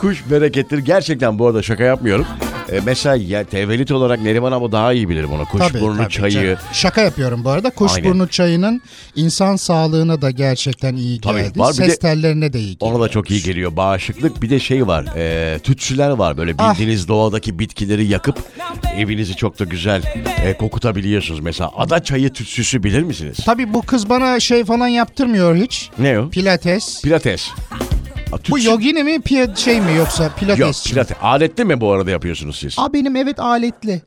Speaker 1: kuş berekettir. Gerçekten bu arada şaka yapmıyorum. E, mesela ya, tevelit olarak Neriman ama daha iyi bilir bunu.
Speaker 3: Tabii,
Speaker 1: Kuşburnu
Speaker 3: tabii
Speaker 1: çayı.
Speaker 3: canım. Şaka yapıyorum bu arada. Kuşburnu
Speaker 1: Aynen.
Speaker 3: çayının insan sağlığına da gerçekten iyi
Speaker 1: Tabii,
Speaker 3: geldi.
Speaker 1: var bir de-
Speaker 3: Ses tellerine de iyi geldi.
Speaker 1: Ona da çok iyi geliyor. Bağışıklık bir de şey var. E, tütsüler var böyle
Speaker 3: Ah.
Speaker 1: bildiğiniz doğadaki bitkileri yakıp evinizi çok da güzel e, kokutabiliyorsunuz. Mesela ada çayı tütsüsü bilir misiniz?
Speaker 3: Tabii bu kız bana şey falan yaptırmıyor hiç.
Speaker 1: Ne o?
Speaker 3: Pilates.
Speaker 1: Pilates. Ha, tütsü-
Speaker 3: bu yogini mi pi- şey mi yoksa pilates
Speaker 1: Yok
Speaker 3: mi?
Speaker 1: pilates. Aletli mi bu arada yapıyorsunuz siz?
Speaker 2: Aa benim evet aletli.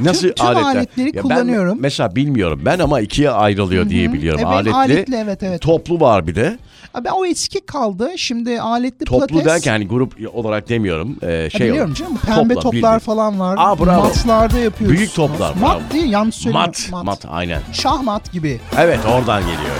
Speaker 1: Nasıl
Speaker 2: tüm aletleri
Speaker 1: ben
Speaker 2: kullanıyorum.
Speaker 1: mesela bilmiyorum ben ama ikiye ayrılıyor diye biliyorum.
Speaker 2: Evet,
Speaker 1: aletli,
Speaker 2: aletli, evet, evet.
Speaker 1: Toplu var bir de.
Speaker 2: Abi o eski kaldı. Şimdi aletli
Speaker 1: Toplu
Speaker 2: pilates.
Speaker 1: derken hani grup olarak demiyorum. Ee,
Speaker 2: Ha,
Speaker 1: şey
Speaker 2: biliyorum
Speaker 1: olarak.
Speaker 2: canım.
Speaker 1: Topla,
Speaker 2: Pembe toplar
Speaker 1: bildiğin.
Speaker 2: falan var.
Speaker 1: Aa, bravo.
Speaker 2: Matlarda yapıyoruz.
Speaker 1: Büyük toplar,
Speaker 2: Mat
Speaker 1: bravo.
Speaker 2: değil yanlış söylüyorum.
Speaker 1: Mat, mat, aynen.
Speaker 2: Şahmat gibi.
Speaker 1: Evet oradan geliyor.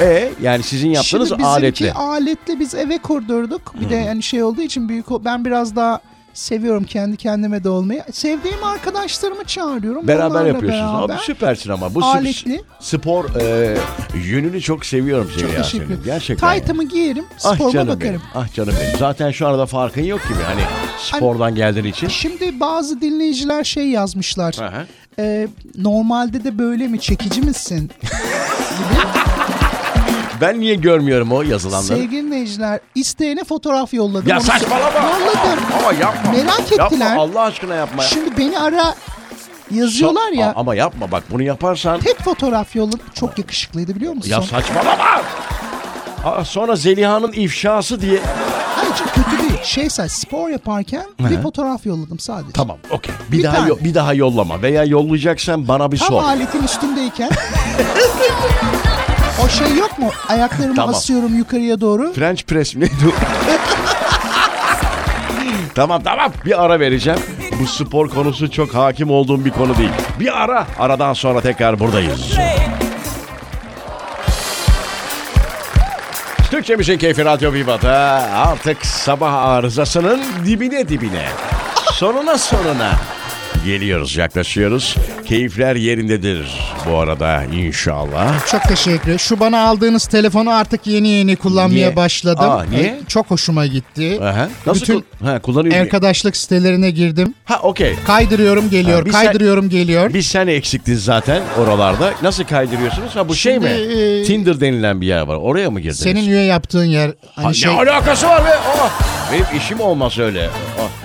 Speaker 1: E yani sizin yaptığınız
Speaker 2: Şimdi bizimki
Speaker 1: aletli.
Speaker 2: aletli. biz eve kurdurduk. Bir
Speaker 1: Hmm.
Speaker 2: de hani şey olduğu için büyük o- ben biraz daha seviyorum kendi kendime de olmayı. Sevdiğim arkadaşlarımı çağırıyorum.
Speaker 1: Beraber
Speaker 2: Onlarla
Speaker 1: yapıyorsunuz.
Speaker 2: beraber.
Speaker 1: Abi süpersin ama. Bu sp-
Speaker 2: Aletli.
Speaker 1: spor e, yönünü çok seviyorum seni
Speaker 2: Çok
Speaker 1: ya
Speaker 2: teşekkür
Speaker 1: senin.
Speaker 2: ederim.
Speaker 1: Gerçekten.
Speaker 2: Tight'ımı giyerim,
Speaker 1: Ah
Speaker 2: sporuma
Speaker 1: canım
Speaker 2: bakarım.
Speaker 1: benim. Ah canım benim. Zaten şu arada farkın yok gibi. Hani spordan geldiğin için.
Speaker 2: Şimdi bazı dinleyiciler şey yazmışlar.
Speaker 1: Aha.
Speaker 2: Ee, normalde de böyle mi çekici misin?
Speaker 1: Ben niye görmüyorum o yazılanları?
Speaker 2: Sevgili dinleyiciler isteyene fotoğraf yolladım.
Speaker 1: Ya
Speaker 2: Onu-
Speaker 1: saçmalama.
Speaker 2: Yolladım.
Speaker 1: Ama yapma.
Speaker 2: Merak ettiler.
Speaker 1: Yapma Allah aşkına yapma. ya.
Speaker 2: Şimdi beni ara yazıyorlar
Speaker 1: Sa-
Speaker 2: ya.
Speaker 1: A- Ama yapma bak bunu yaparsan.
Speaker 2: Tek fotoğraf yolladım. Çok yakışıklıydı biliyor musun?
Speaker 1: Ya saçmalama. Aa, sonra Zeliha'nın ifşası diye.
Speaker 2: Hayır çok kötü değil. Şey sen spor yaparken bir fotoğraf yolladım sadece.
Speaker 1: Tamam okey. Bir,
Speaker 2: Bir
Speaker 1: daha
Speaker 2: tane.
Speaker 1: yo- bir daha yollama veya yollayacaksan bana bir
Speaker 2: Tam
Speaker 1: sor.
Speaker 2: aletin üstündeyken. o şey yok mu? Ayaklarımı
Speaker 1: Tamam.
Speaker 2: asıyorum yukarıya doğru.
Speaker 1: French press mi neydi o? Tamam tamam bir ara vereceğim. Bu spor konusu çok hakim olduğum bir konu değil. Bir ara aradan sonra tekrar buradayız. Türkçe Müzik Keyfi Radyo Viva'da artık sabah arızasının dibine dibine. Sonuna sonuna geliyoruz, yaklaşıyoruz. Keyifler yerindedir bu arada inşallah.
Speaker 3: Çok teşekkür ederim. Şu bana aldığınız telefonu artık yeni yeni kullanmaya
Speaker 1: Niye?
Speaker 3: başladım.
Speaker 1: Aa, niye?
Speaker 3: Çok hoşuma gitti.
Speaker 1: Aha. Nasıl
Speaker 3: Bütün
Speaker 1: kul- ha, kullanıyor muyum?
Speaker 3: Arkadaşlık sitelerine girdim.
Speaker 1: Ha okey.
Speaker 3: Kaydırıyorum geliyor.
Speaker 1: Ha, bir sen-
Speaker 3: kaydırıyorum geliyor.
Speaker 1: Bir sen eksiktin zaten oralarda. Nasıl kaydırıyorsunuz? Ha bu şey mi?
Speaker 3: Şimdi, e,
Speaker 1: Tinder denilen bir yer var. Oraya mı girdiniz?
Speaker 3: Senin üye yaptığın yer hani
Speaker 1: Ha,
Speaker 3: şey
Speaker 1: Ne alakası var be? Aa, benim işim olmaz öyle. Aa,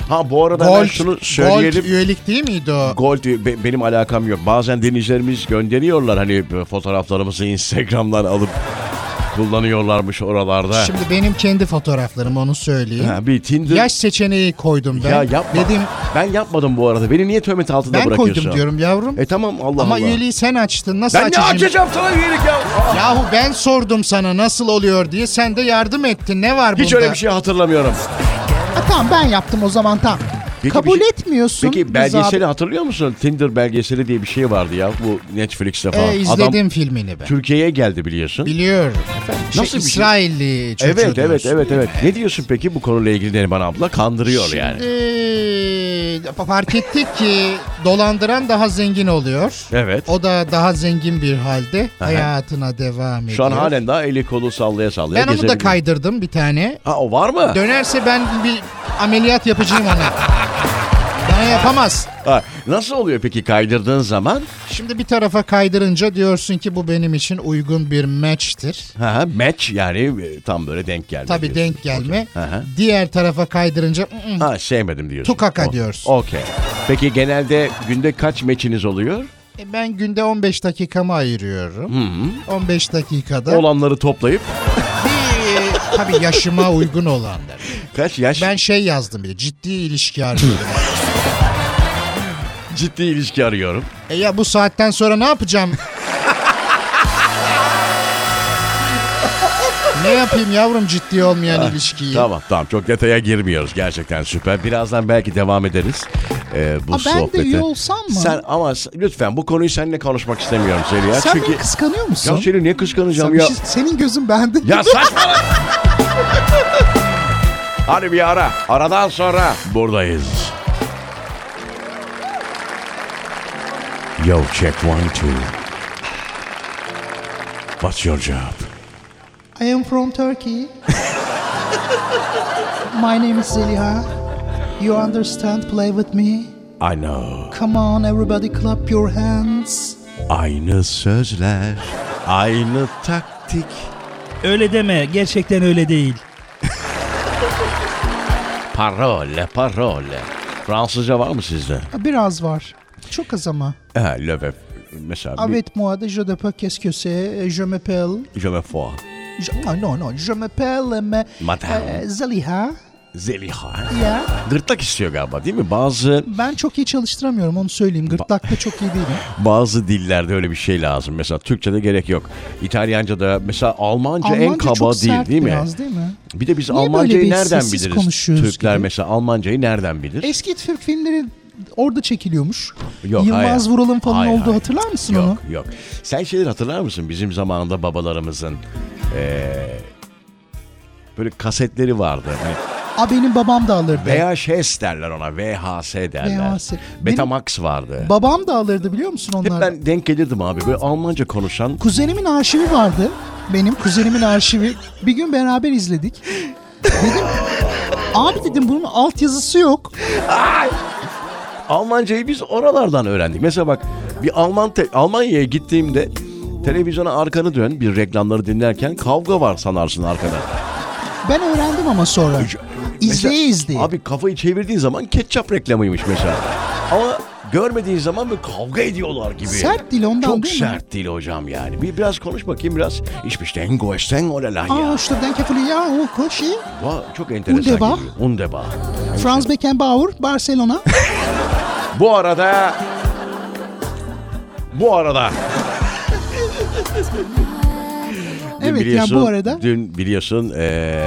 Speaker 1: Ha bu arada ben
Speaker 3: Gold,
Speaker 1: şunu
Speaker 3: Gold
Speaker 1: söyleyelim.
Speaker 3: üyelik değil miydi o?
Speaker 1: Gold be- benim alakam yok. Bazen dinleyicilerimiz gönderiyorlar hani böyle fotoğraflarımızı Instagram'dan alıp kullanıyorlarmış oralarda.
Speaker 3: Şimdi benim kendi fotoğraflarım onu söyleyeyim.
Speaker 1: ha, bir Tinder.
Speaker 3: Yaş seçeneği koydum ben.
Speaker 1: ya yapma.
Speaker 3: Dedim
Speaker 1: Ben yapmadım bu arada. Beni niye töhmet altında
Speaker 3: ben
Speaker 1: bırakıyorsun?
Speaker 3: koydum diyorum yavrum.
Speaker 1: E tamam Allah
Speaker 3: Ama
Speaker 1: Allah.
Speaker 3: üyeliği sen açtın. Nasıl
Speaker 1: Ben ne
Speaker 3: açacağım?
Speaker 1: açacağım sana üyelik ya? Aa,
Speaker 3: Yahu ben sordum sana nasıl oluyor diye. Sen de yardım ettin. Ne var
Speaker 1: Hiç
Speaker 3: bunda?
Speaker 1: öyle bir şey hatırlamıyorum.
Speaker 2: Ha, tamam ben yaptım o zaman tamam.
Speaker 1: Peki
Speaker 2: Kabul
Speaker 1: bir şey-
Speaker 2: etmiyorsun.
Speaker 1: Peki
Speaker 2: Rıza abi.
Speaker 1: belgeseli hatırlıyor musun? Tinder belgeseli diye bir şey vardı ya bu Netflix'te falan.
Speaker 3: E, izledim
Speaker 1: Adam
Speaker 3: filmini ben.
Speaker 1: Türkiye'ye geldi biliyorsun.
Speaker 3: Biliyorum efendim. Şey,
Speaker 1: Nasıl bir şey?
Speaker 3: İsrailli çocuğu
Speaker 1: evet evet
Speaker 3: diyorsun.
Speaker 1: evet evet. Ne diyorsun peki bu konuyla ilgili Neriman abla? Kandırıyor yani.
Speaker 3: Şimdi fark ettik ki dolandıran daha zengin oluyor.
Speaker 1: Evet.
Speaker 3: O da daha zengin bir halde hayatına devam ediyor.
Speaker 1: Şu an halen daha eli kolu sallaya sallaya
Speaker 3: Ben onu da
Speaker 1: gezebiliyor.
Speaker 3: kaydırdım bir tane.
Speaker 1: Ha o var mı?
Speaker 3: Dönerse ben bir ameliyat yapacağım ona. Bana yapamaz.
Speaker 1: Ha, nasıl oluyor peki kaydırdığın zaman?
Speaker 3: Şimdi bir tarafa kaydırınca diyorsun ki bu benim için uygun bir match'tir.
Speaker 1: Ha, ha, match yani e, tam böyle denk gelme.
Speaker 3: Tabii
Speaker 1: diyorsun.
Speaker 3: denk gelme.
Speaker 1: Okey. Aha.
Speaker 3: Diğer tarafa kaydırınca "Mm,
Speaker 1: Ha sevmedim diyorsun.
Speaker 3: Tukaka
Speaker 1: O-
Speaker 3: diyorsun.
Speaker 1: Okey. Peki genelde günde kaç meçiniz oluyor?
Speaker 3: E, Ben günde 15 dakikamı ayırıyorum. 15 dakikada
Speaker 1: Olanları toplayıp
Speaker 3: bir tabii yaşıma uygun olanlar.
Speaker 1: kaç yaş?
Speaker 3: Ben şey yazdım bile ciddi ilişki arıyorum.
Speaker 1: Ciddi ilişki arıyorum.
Speaker 3: e ya bu saatten sonra ne yapacağım? ne yapayım yavrum ciddi olmayan ilişkiyi?
Speaker 1: Tamam tamam çok detaya girmiyoruz gerçekten süper. Birazdan belki devam ederiz ee, bu
Speaker 2: Ha, ben de
Speaker 1: sohbete.
Speaker 2: üye olsam mı?
Speaker 1: Sen ama s- lütfen bu konuyu seninle konuşmak istemiyorum Zeliha.
Speaker 2: Sen
Speaker 1: çünkü...
Speaker 2: beni kıskanıyor musun?
Speaker 1: Ya seni ne kıskanacağım
Speaker 2: Sen
Speaker 1: ya?
Speaker 2: bir şey- senin gözün bende.
Speaker 1: Ya saçmalama. Hadi bir ara. Aradan sonra buradayız. Yo check one two. What's your job?
Speaker 2: I am from Turkey. My name is Zeliha. You understand? Play with me.
Speaker 1: I know.
Speaker 2: Come on everybody clap your hands.
Speaker 1: Aynı sözler, aynı taktik.
Speaker 4: Öyle deme. Gerçekten öyle değil.
Speaker 1: Parole, parole. Fransızca var mı sizde?
Speaker 2: Ha, Biraz var. Çok az ama.
Speaker 1: Ha, leve. Mesela bir
Speaker 2: Avec moi déjà de pas qu'est-ce que c'est. Je m'appelle...
Speaker 1: je me fois.
Speaker 2: Je- Ah, non non. Je m'appelle... mais,
Speaker 1: Madame.
Speaker 2: eh, Zeliha.
Speaker 1: Zeliha.
Speaker 2: Ya.
Speaker 1: Gırtlak istiyor galiba değil mi? Bazı
Speaker 2: Ben çok iyi çalıştıramıyorum onu söyleyeyim. Gırtlakta çok iyi değilim.
Speaker 1: bazı dillerde öyle bir şey lazım. Mesela Türkçe'de gerek yok. İtalyanca'da mesela Almanca, en
Speaker 2: Almanca
Speaker 1: kaba
Speaker 2: çok
Speaker 1: dil
Speaker 2: sert
Speaker 1: değil mi?
Speaker 2: biraz değil mi?
Speaker 1: Bir de biz
Speaker 2: Niye böyle
Speaker 1: Almancayı
Speaker 2: bir
Speaker 1: nereden
Speaker 2: sessiz
Speaker 1: biliriz?
Speaker 2: konuşuyoruz
Speaker 1: Türkler
Speaker 2: gibi?
Speaker 1: mesela Almancayı nereden bilir?
Speaker 2: Eski Türk filmleri orada çekiliyormuş.
Speaker 1: Yok,
Speaker 2: Yılmaz
Speaker 1: hayır.
Speaker 2: Vural'ın falan
Speaker 1: Hayır,
Speaker 2: olduğu
Speaker 1: hayır.
Speaker 2: hatırlar mısın
Speaker 1: yok,
Speaker 2: onu?
Speaker 1: Yok Sen şeyleri hatırlar mısın? Bizim zamanında babalarımızın eee, böyle kasetleri vardı. Hani
Speaker 2: A benim babam da alırdı.
Speaker 1: VHS derler ona. VHS derler.
Speaker 2: VHS.
Speaker 1: Betamax vardı.
Speaker 2: Babam da alırdı biliyor musun
Speaker 1: Hep
Speaker 2: onları?
Speaker 1: ben denk gelirdim abi. Böyle Almanca konuşan
Speaker 2: Kuzenimin arşivi vardı. Benim kuzenimin arşivi. Bir gün beraber izledik. Dedim abi dedim bunun altyazısı yok.
Speaker 1: Almancayı biz oralardan öğrendik. Mesela bak bir Alman te- Almanya'ya gittiğimde televizyona arkanı dön bir reklamları dinlerken kavga var sanarsın arkada.
Speaker 2: Ben öğrendim ama sonra.
Speaker 1: Mesela-
Speaker 2: İzleye izleye.
Speaker 1: Abi kafayı çevirdiğin zaman ketçap reklamıymış mesela. Ama görmediğin zaman bir kavga ediyorlar gibi.
Speaker 2: Sert dil ondan
Speaker 1: Çok
Speaker 2: değil mi?
Speaker 1: sert dil hocam yani. Bir biraz konuş bakayım biraz. Ich bin Goesten oder lan
Speaker 2: Aa
Speaker 1: ya.
Speaker 2: işte denk yapılı ya o koşu.
Speaker 1: Va- Çok enteresan.
Speaker 2: Undeba.
Speaker 1: geliyor. Undeba.
Speaker 2: Franz Beckenbauer Barcelona.
Speaker 1: Bu arada... Bu arada... Dün
Speaker 2: Evet, ya
Speaker 1: biliyorsun-
Speaker 2: bu arada-
Speaker 1: Dün biliyorsun eee,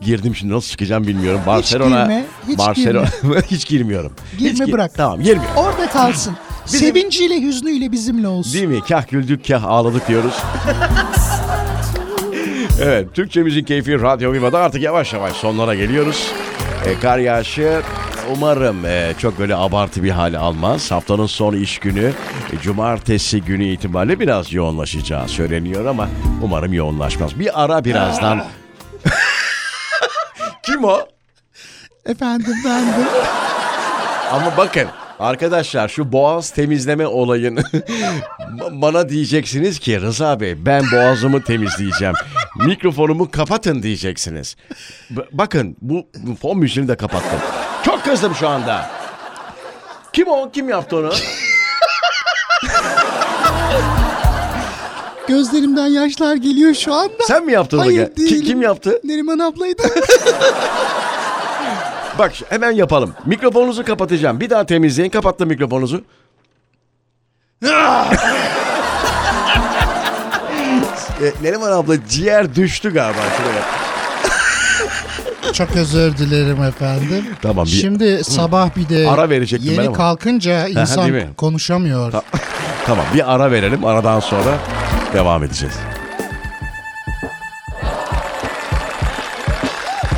Speaker 1: girdim şimdi nasıl çıkacağım bilmiyorum. Barcelona.
Speaker 2: girme, hiç
Speaker 1: Barcelona, hiç girmiyorum.
Speaker 2: Girme
Speaker 1: Hiç gir-
Speaker 2: bırak.
Speaker 1: Tamam girmiyorum.
Speaker 2: Orada kalsın.
Speaker 1: Bizim-
Speaker 2: Sevinciyle hüznüyle bizimle olsun.
Speaker 1: Değil mi? Kah güldük kah ağladık diyoruz. evet Türkçemizin keyfi Radyo Viva'da artık yavaş yavaş sonlara geliyoruz. E, kar yağışı Umarım e, çok böyle abartı bir hale almaz. Haftanın son iş günü e, cumartesi günü itibariyle biraz yoğunlaşacağı söyleniyor ama umarım yoğunlaşmaz. Bir ara birazdan. Kim o?
Speaker 2: Efendim bendim.
Speaker 1: Ama bakın arkadaşlar şu boğaz temizleme olayını ba- bana diyeceksiniz ki Rıza Bey ben boğazımı temizleyeceğim. Mikrofonumu kapatın diyeceksiniz. B- bakın bu bu fon müziğini de kapattım. Çok kızdım şu anda. Kim o? Kim yaptı onu?
Speaker 2: Gözlerimden yaşlar geliyor şu anda.
Speaker 1: Sen mi yaptın onu?
Speaker 2: Hayır,
Speaker 1: Ki-
Speaker 2: değilim.
Speaker 1: Kim yaptı?
Speaker 2: Neriman ablaydı.
Speaker 1: Bak hemen yapalım. Mikrofonunuzu kapatacağım. Bir daha temizleyin. Kapattım mikrofonunuzu. e, Neriman abla ciğer düştü galiba. Şuraya.
Speaker 3: Çok özür dilerim efendim.
Speaker 1: Tamam, bir-
Speaker 3: Şimdi sabah bir de
Speaker 1: Ara verecektim ben
Speaker 3: yeni
Speaker 1: ama.
Speaker 3: kalkınca
Speaker 1: değil mi?
Speaker 3: insan konuşamıyor.
Speaker 1: Tamam bir ara verelim. Aradan sonra devam edeceğiz.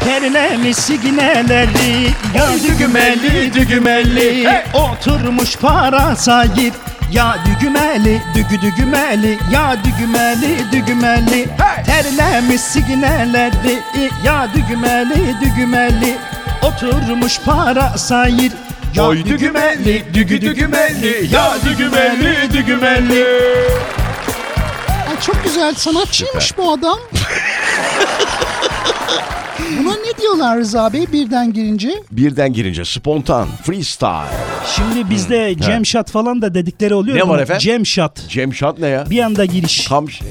Speaker 4: Kerlemesi gineleri Ya dügümeli dügümeli Oturmuş para sahip Ya dügümeli dügü dügümeli Ya dügümeli dügümeli Terlemiş sigineleri Ya dügümeli dügümeli Oturmuş para sahip Ya
Speaker 1: Oy dügümeli, dügü dügümeli, ya dügümeli, dügümeli.
Speaker 2: Ay çok güzel sanatçıymış bu adam. Buna ne diyorlar Rıza Bey birden girince?
Speaker 1: Birden girince spontan, freestyle.
Speaker 4: Şimdi bizde jam shot falan da dedikleri oluyor.
Speaker 1: Hmm. Ne
Speaker 4: mu?
Speaker 1: var efendim?
Speaker 4: Jam shot.
Speaker 1: Cem Shot ne ya?
Speaker 4: Bir anda giriş.
Speaker 1: Tam şey.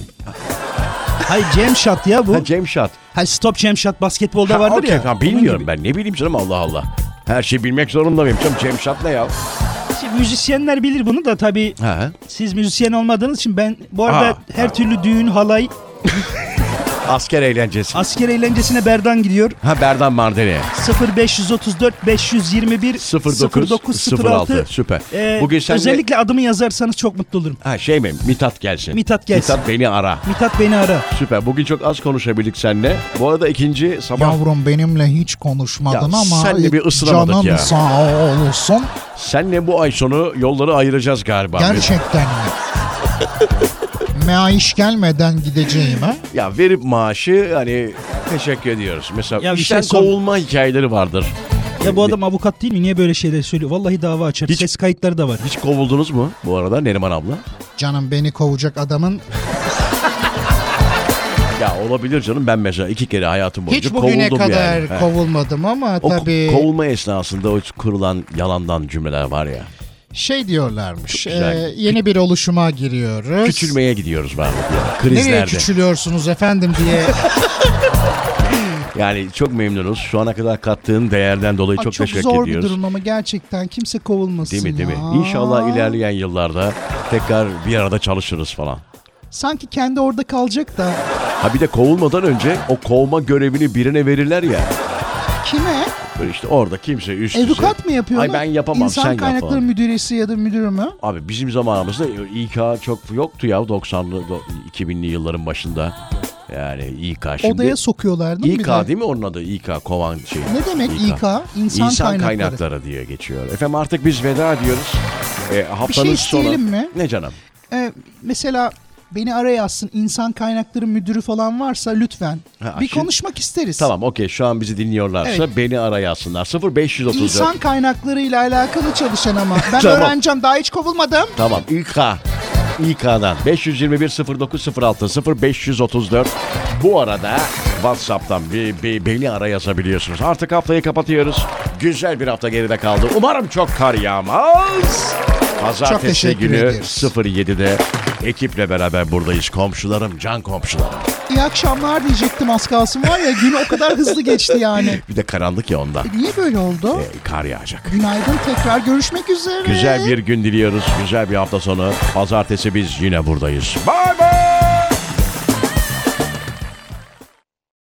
Speaker 4: Hayır jam shot ya bu.
Speaker 1: ha, Cem Shot.
Speaker 4: Hayır stop jam shot basketbolda
Speaker 1: Ha,
Speaker 4: vardır
Speaker 1: okey,
Speaker 4: ya.
Speaker 1: tamam, bilmiyorum ben. Ne bileyim canım Allah Allah. Her şeyi bilmek zorunda mıyım? Canım Cem Shot ne ya?
Speaker 4: Şimdi müzisyenler bilir bunu da tabii
Speaker 1: Ha.
Speaker 4: siz müzisyen olmadığınız için ben bu arada
Speaker 1: Ha,
Speaker 4: her türlü düğün, halay,
Speaker 1: Asker eğlencesi.
Speaker 4: asker eğlencesine berdan gidiyor.
Speaker 1: ha Berdan Mardini.
Speaker 4: 0534 521
Speaker 1: 0906.
Speaker 4: 0906.
Speaker 1: Süper.
Speaker 4: Ee,
Speaker 1: Bugün sen
Speaker 4: özellikle adımı yazarsanız çok mutlu olurum.
Speaker 1: Ha şey mi? Mithat gelsin.
Speaker 4: Mithat gelsin.
Speaker 1: Mithat beni ara.
Speaker 4: Mithat beni ara.
Speaker 1: Süper. Bugün çok az konuşabildik seninle. Bu arada ikinci sabah
Speaker 3: Yavrum benimle hiç konuşmadın
Speaker 1: Ya
Speaker 3: ama
Speaker 1: sen de bir ısınamadık
Speaker 3: canım
Speaker 1: ya.
Speaker 3: sağ olsun.
Speaker 1: Senle bu ay sonu yolları ayıracağız galiba.
Speaker 3: Gerçekten mi? Meaiş gelmeden gideceğim ha.
Speaker 1: Ya verip maaşı hani teşekkür ediyoruz. Mesela
Speaker 4: Ya bir
Speaker 1: işten
Speaker 4: şey sor-
Speaker 1: kovulma hikayeleri vardır.
Speaker 4: Ya bu adam avukat değil mi? Niye böyle şeyler söylüyor? Vallahi dava açar.
Speaker 1: Hiç-
Speaker 4: Ses kayıtları da var.
Speaker 1: Hiç kovuldunuz mu bu arada Neriman abla?
Speaker 3: Canım beni kovacak adamın
Speaker 1: Ya olabilir canım ben mesela iki kere hayatım boyunca
Speaker 3: hiç bugüne
Speaker 1: kovuldum
Speaker 3: kadar
Speaker 1: yani. He.
Speaker 3: kovulmadım ama
Speaker 1: o ko-
Speaker 3: tabii
Speaker 1: kovulma esnasında o kurulan yalandan cümleler var ya.
Speaker 3: şey diyorlarmış.
Speaker 1: güzel.
Speaker 3: e, yeni bir oluşuma giriyoruz.
Speaker 1: Küçülmeye gidiyoruz var ya,
Speaker 3: Nereye
Speaker 1: krizlerde.
Speaker 3: küçülüyorsunuz efendim diye.
Speaker 1: Yani çok memnunuz. Şu ana kadar kattığın değerden dolayı
Speaker 2: Ay,
Speaker 1: çok,
Speaker 2: çok,
Speaker 1: teşekkür
Speaker 2: zor
Speaker 1: ediyoruz.
Speaker 2: bir durum ama gerçekten kimse kovulmasın
Speaker 1: Değil mi değil mi?
Speaker 2: ya.
Speaker 1: İnşallah ilerleyen yıllarda tekrar bir arada çalışırız falan.
Speaker 2: Sanki kendi orada kalacak da.
Speaker 1: Ha bir de kovulmadan önce o kovma görevini birine verirler ya.
Speaker 2: Kime?
Speaker 1: Böyle işte orada kimse üst düzey-
Speaker 2: Avukat mı yapıyor?
Speaker 1: Ay şey. ben yapamam
Speaker 2: İnsan
Speaker 1: sen yap
Speaker 2: kaynakları
Speaker 1: falan.
Speaker 2: müdüresi ya da müdürü mü?
Speaker 1: Abi bizim zamanımızda İK çok yoktu ya 90'lı do- 2000'li yılların başında. Yani İK şimdi.
Speaker 2: Odaya sokuyorlardı mı bir
Speaker 1: İK
Speaker 2: de?
Speaker 1: değil mi onun adı İK kovan şey.
Speaker 2: Ne demek İK? İnsan,
Speaker 1: İnsan
Speaker 2: kaynakları.
Speaker 1: kaynakları. diye geçiyor. Efendim artık biz veda ediyoruz. E, haftanın sonu.
Speaker 2: şey isteyelim mi?
Speaker 1: Ne canım?
Speaker 2: Ee, mesela beni ara yazsın insan kaynakları müdürü falan varsa lütfen.
Speaker 1: Ha,
Speaker 2: bir
Speaker 1: şimdi-
Speaker 2: konuşmak isteriz.
Speaker 1: Tamam okey şu an bizi dinliyorlarsa beni ara yazsınlar. 0534.
Speaker 2: İnsan kaynaklarıyla alakalı çalışan ama. Ben
Speaker 1: Tamam.
Speaker 2: öğreneceğim daha hiç kovulmadım.
Speaker 1: Tamam İK. İK'dan 521 0906 0534 bu arada WhatsApp'tan bir, bir beni ara yazabiliyorsunuz. Artık haftayı kapatıyoruz. Güzel bir hafta geride kaldı. Umarım çok kar yağmaz.
Speaker 3: Çok
Speaker 1: Pazartesi
Speaker 3: teşekkür
Speaker 1: günü
Speaker 3: ediyoruz.
Speaker 1: 07'de ekiple beraber buradayız. Komşularım, can komşularım.
Speaker 2: İyi akşamlar diyecektim az kalsın var ya gün o kadar hızlı geçti yani.
Speaker 1: Bir de karanlık ya ondan.
Speaker 2: Niye böyle oldu?
Speaker 1: E, kar yağacak.
Speaker 2: Günaydın tekrar görüşmek üzere.
Speaker 1: Güzel bir gün diliyoruz. Güzel bir hafta sonu. Pazartesi biz yine buradayız. Bay bay.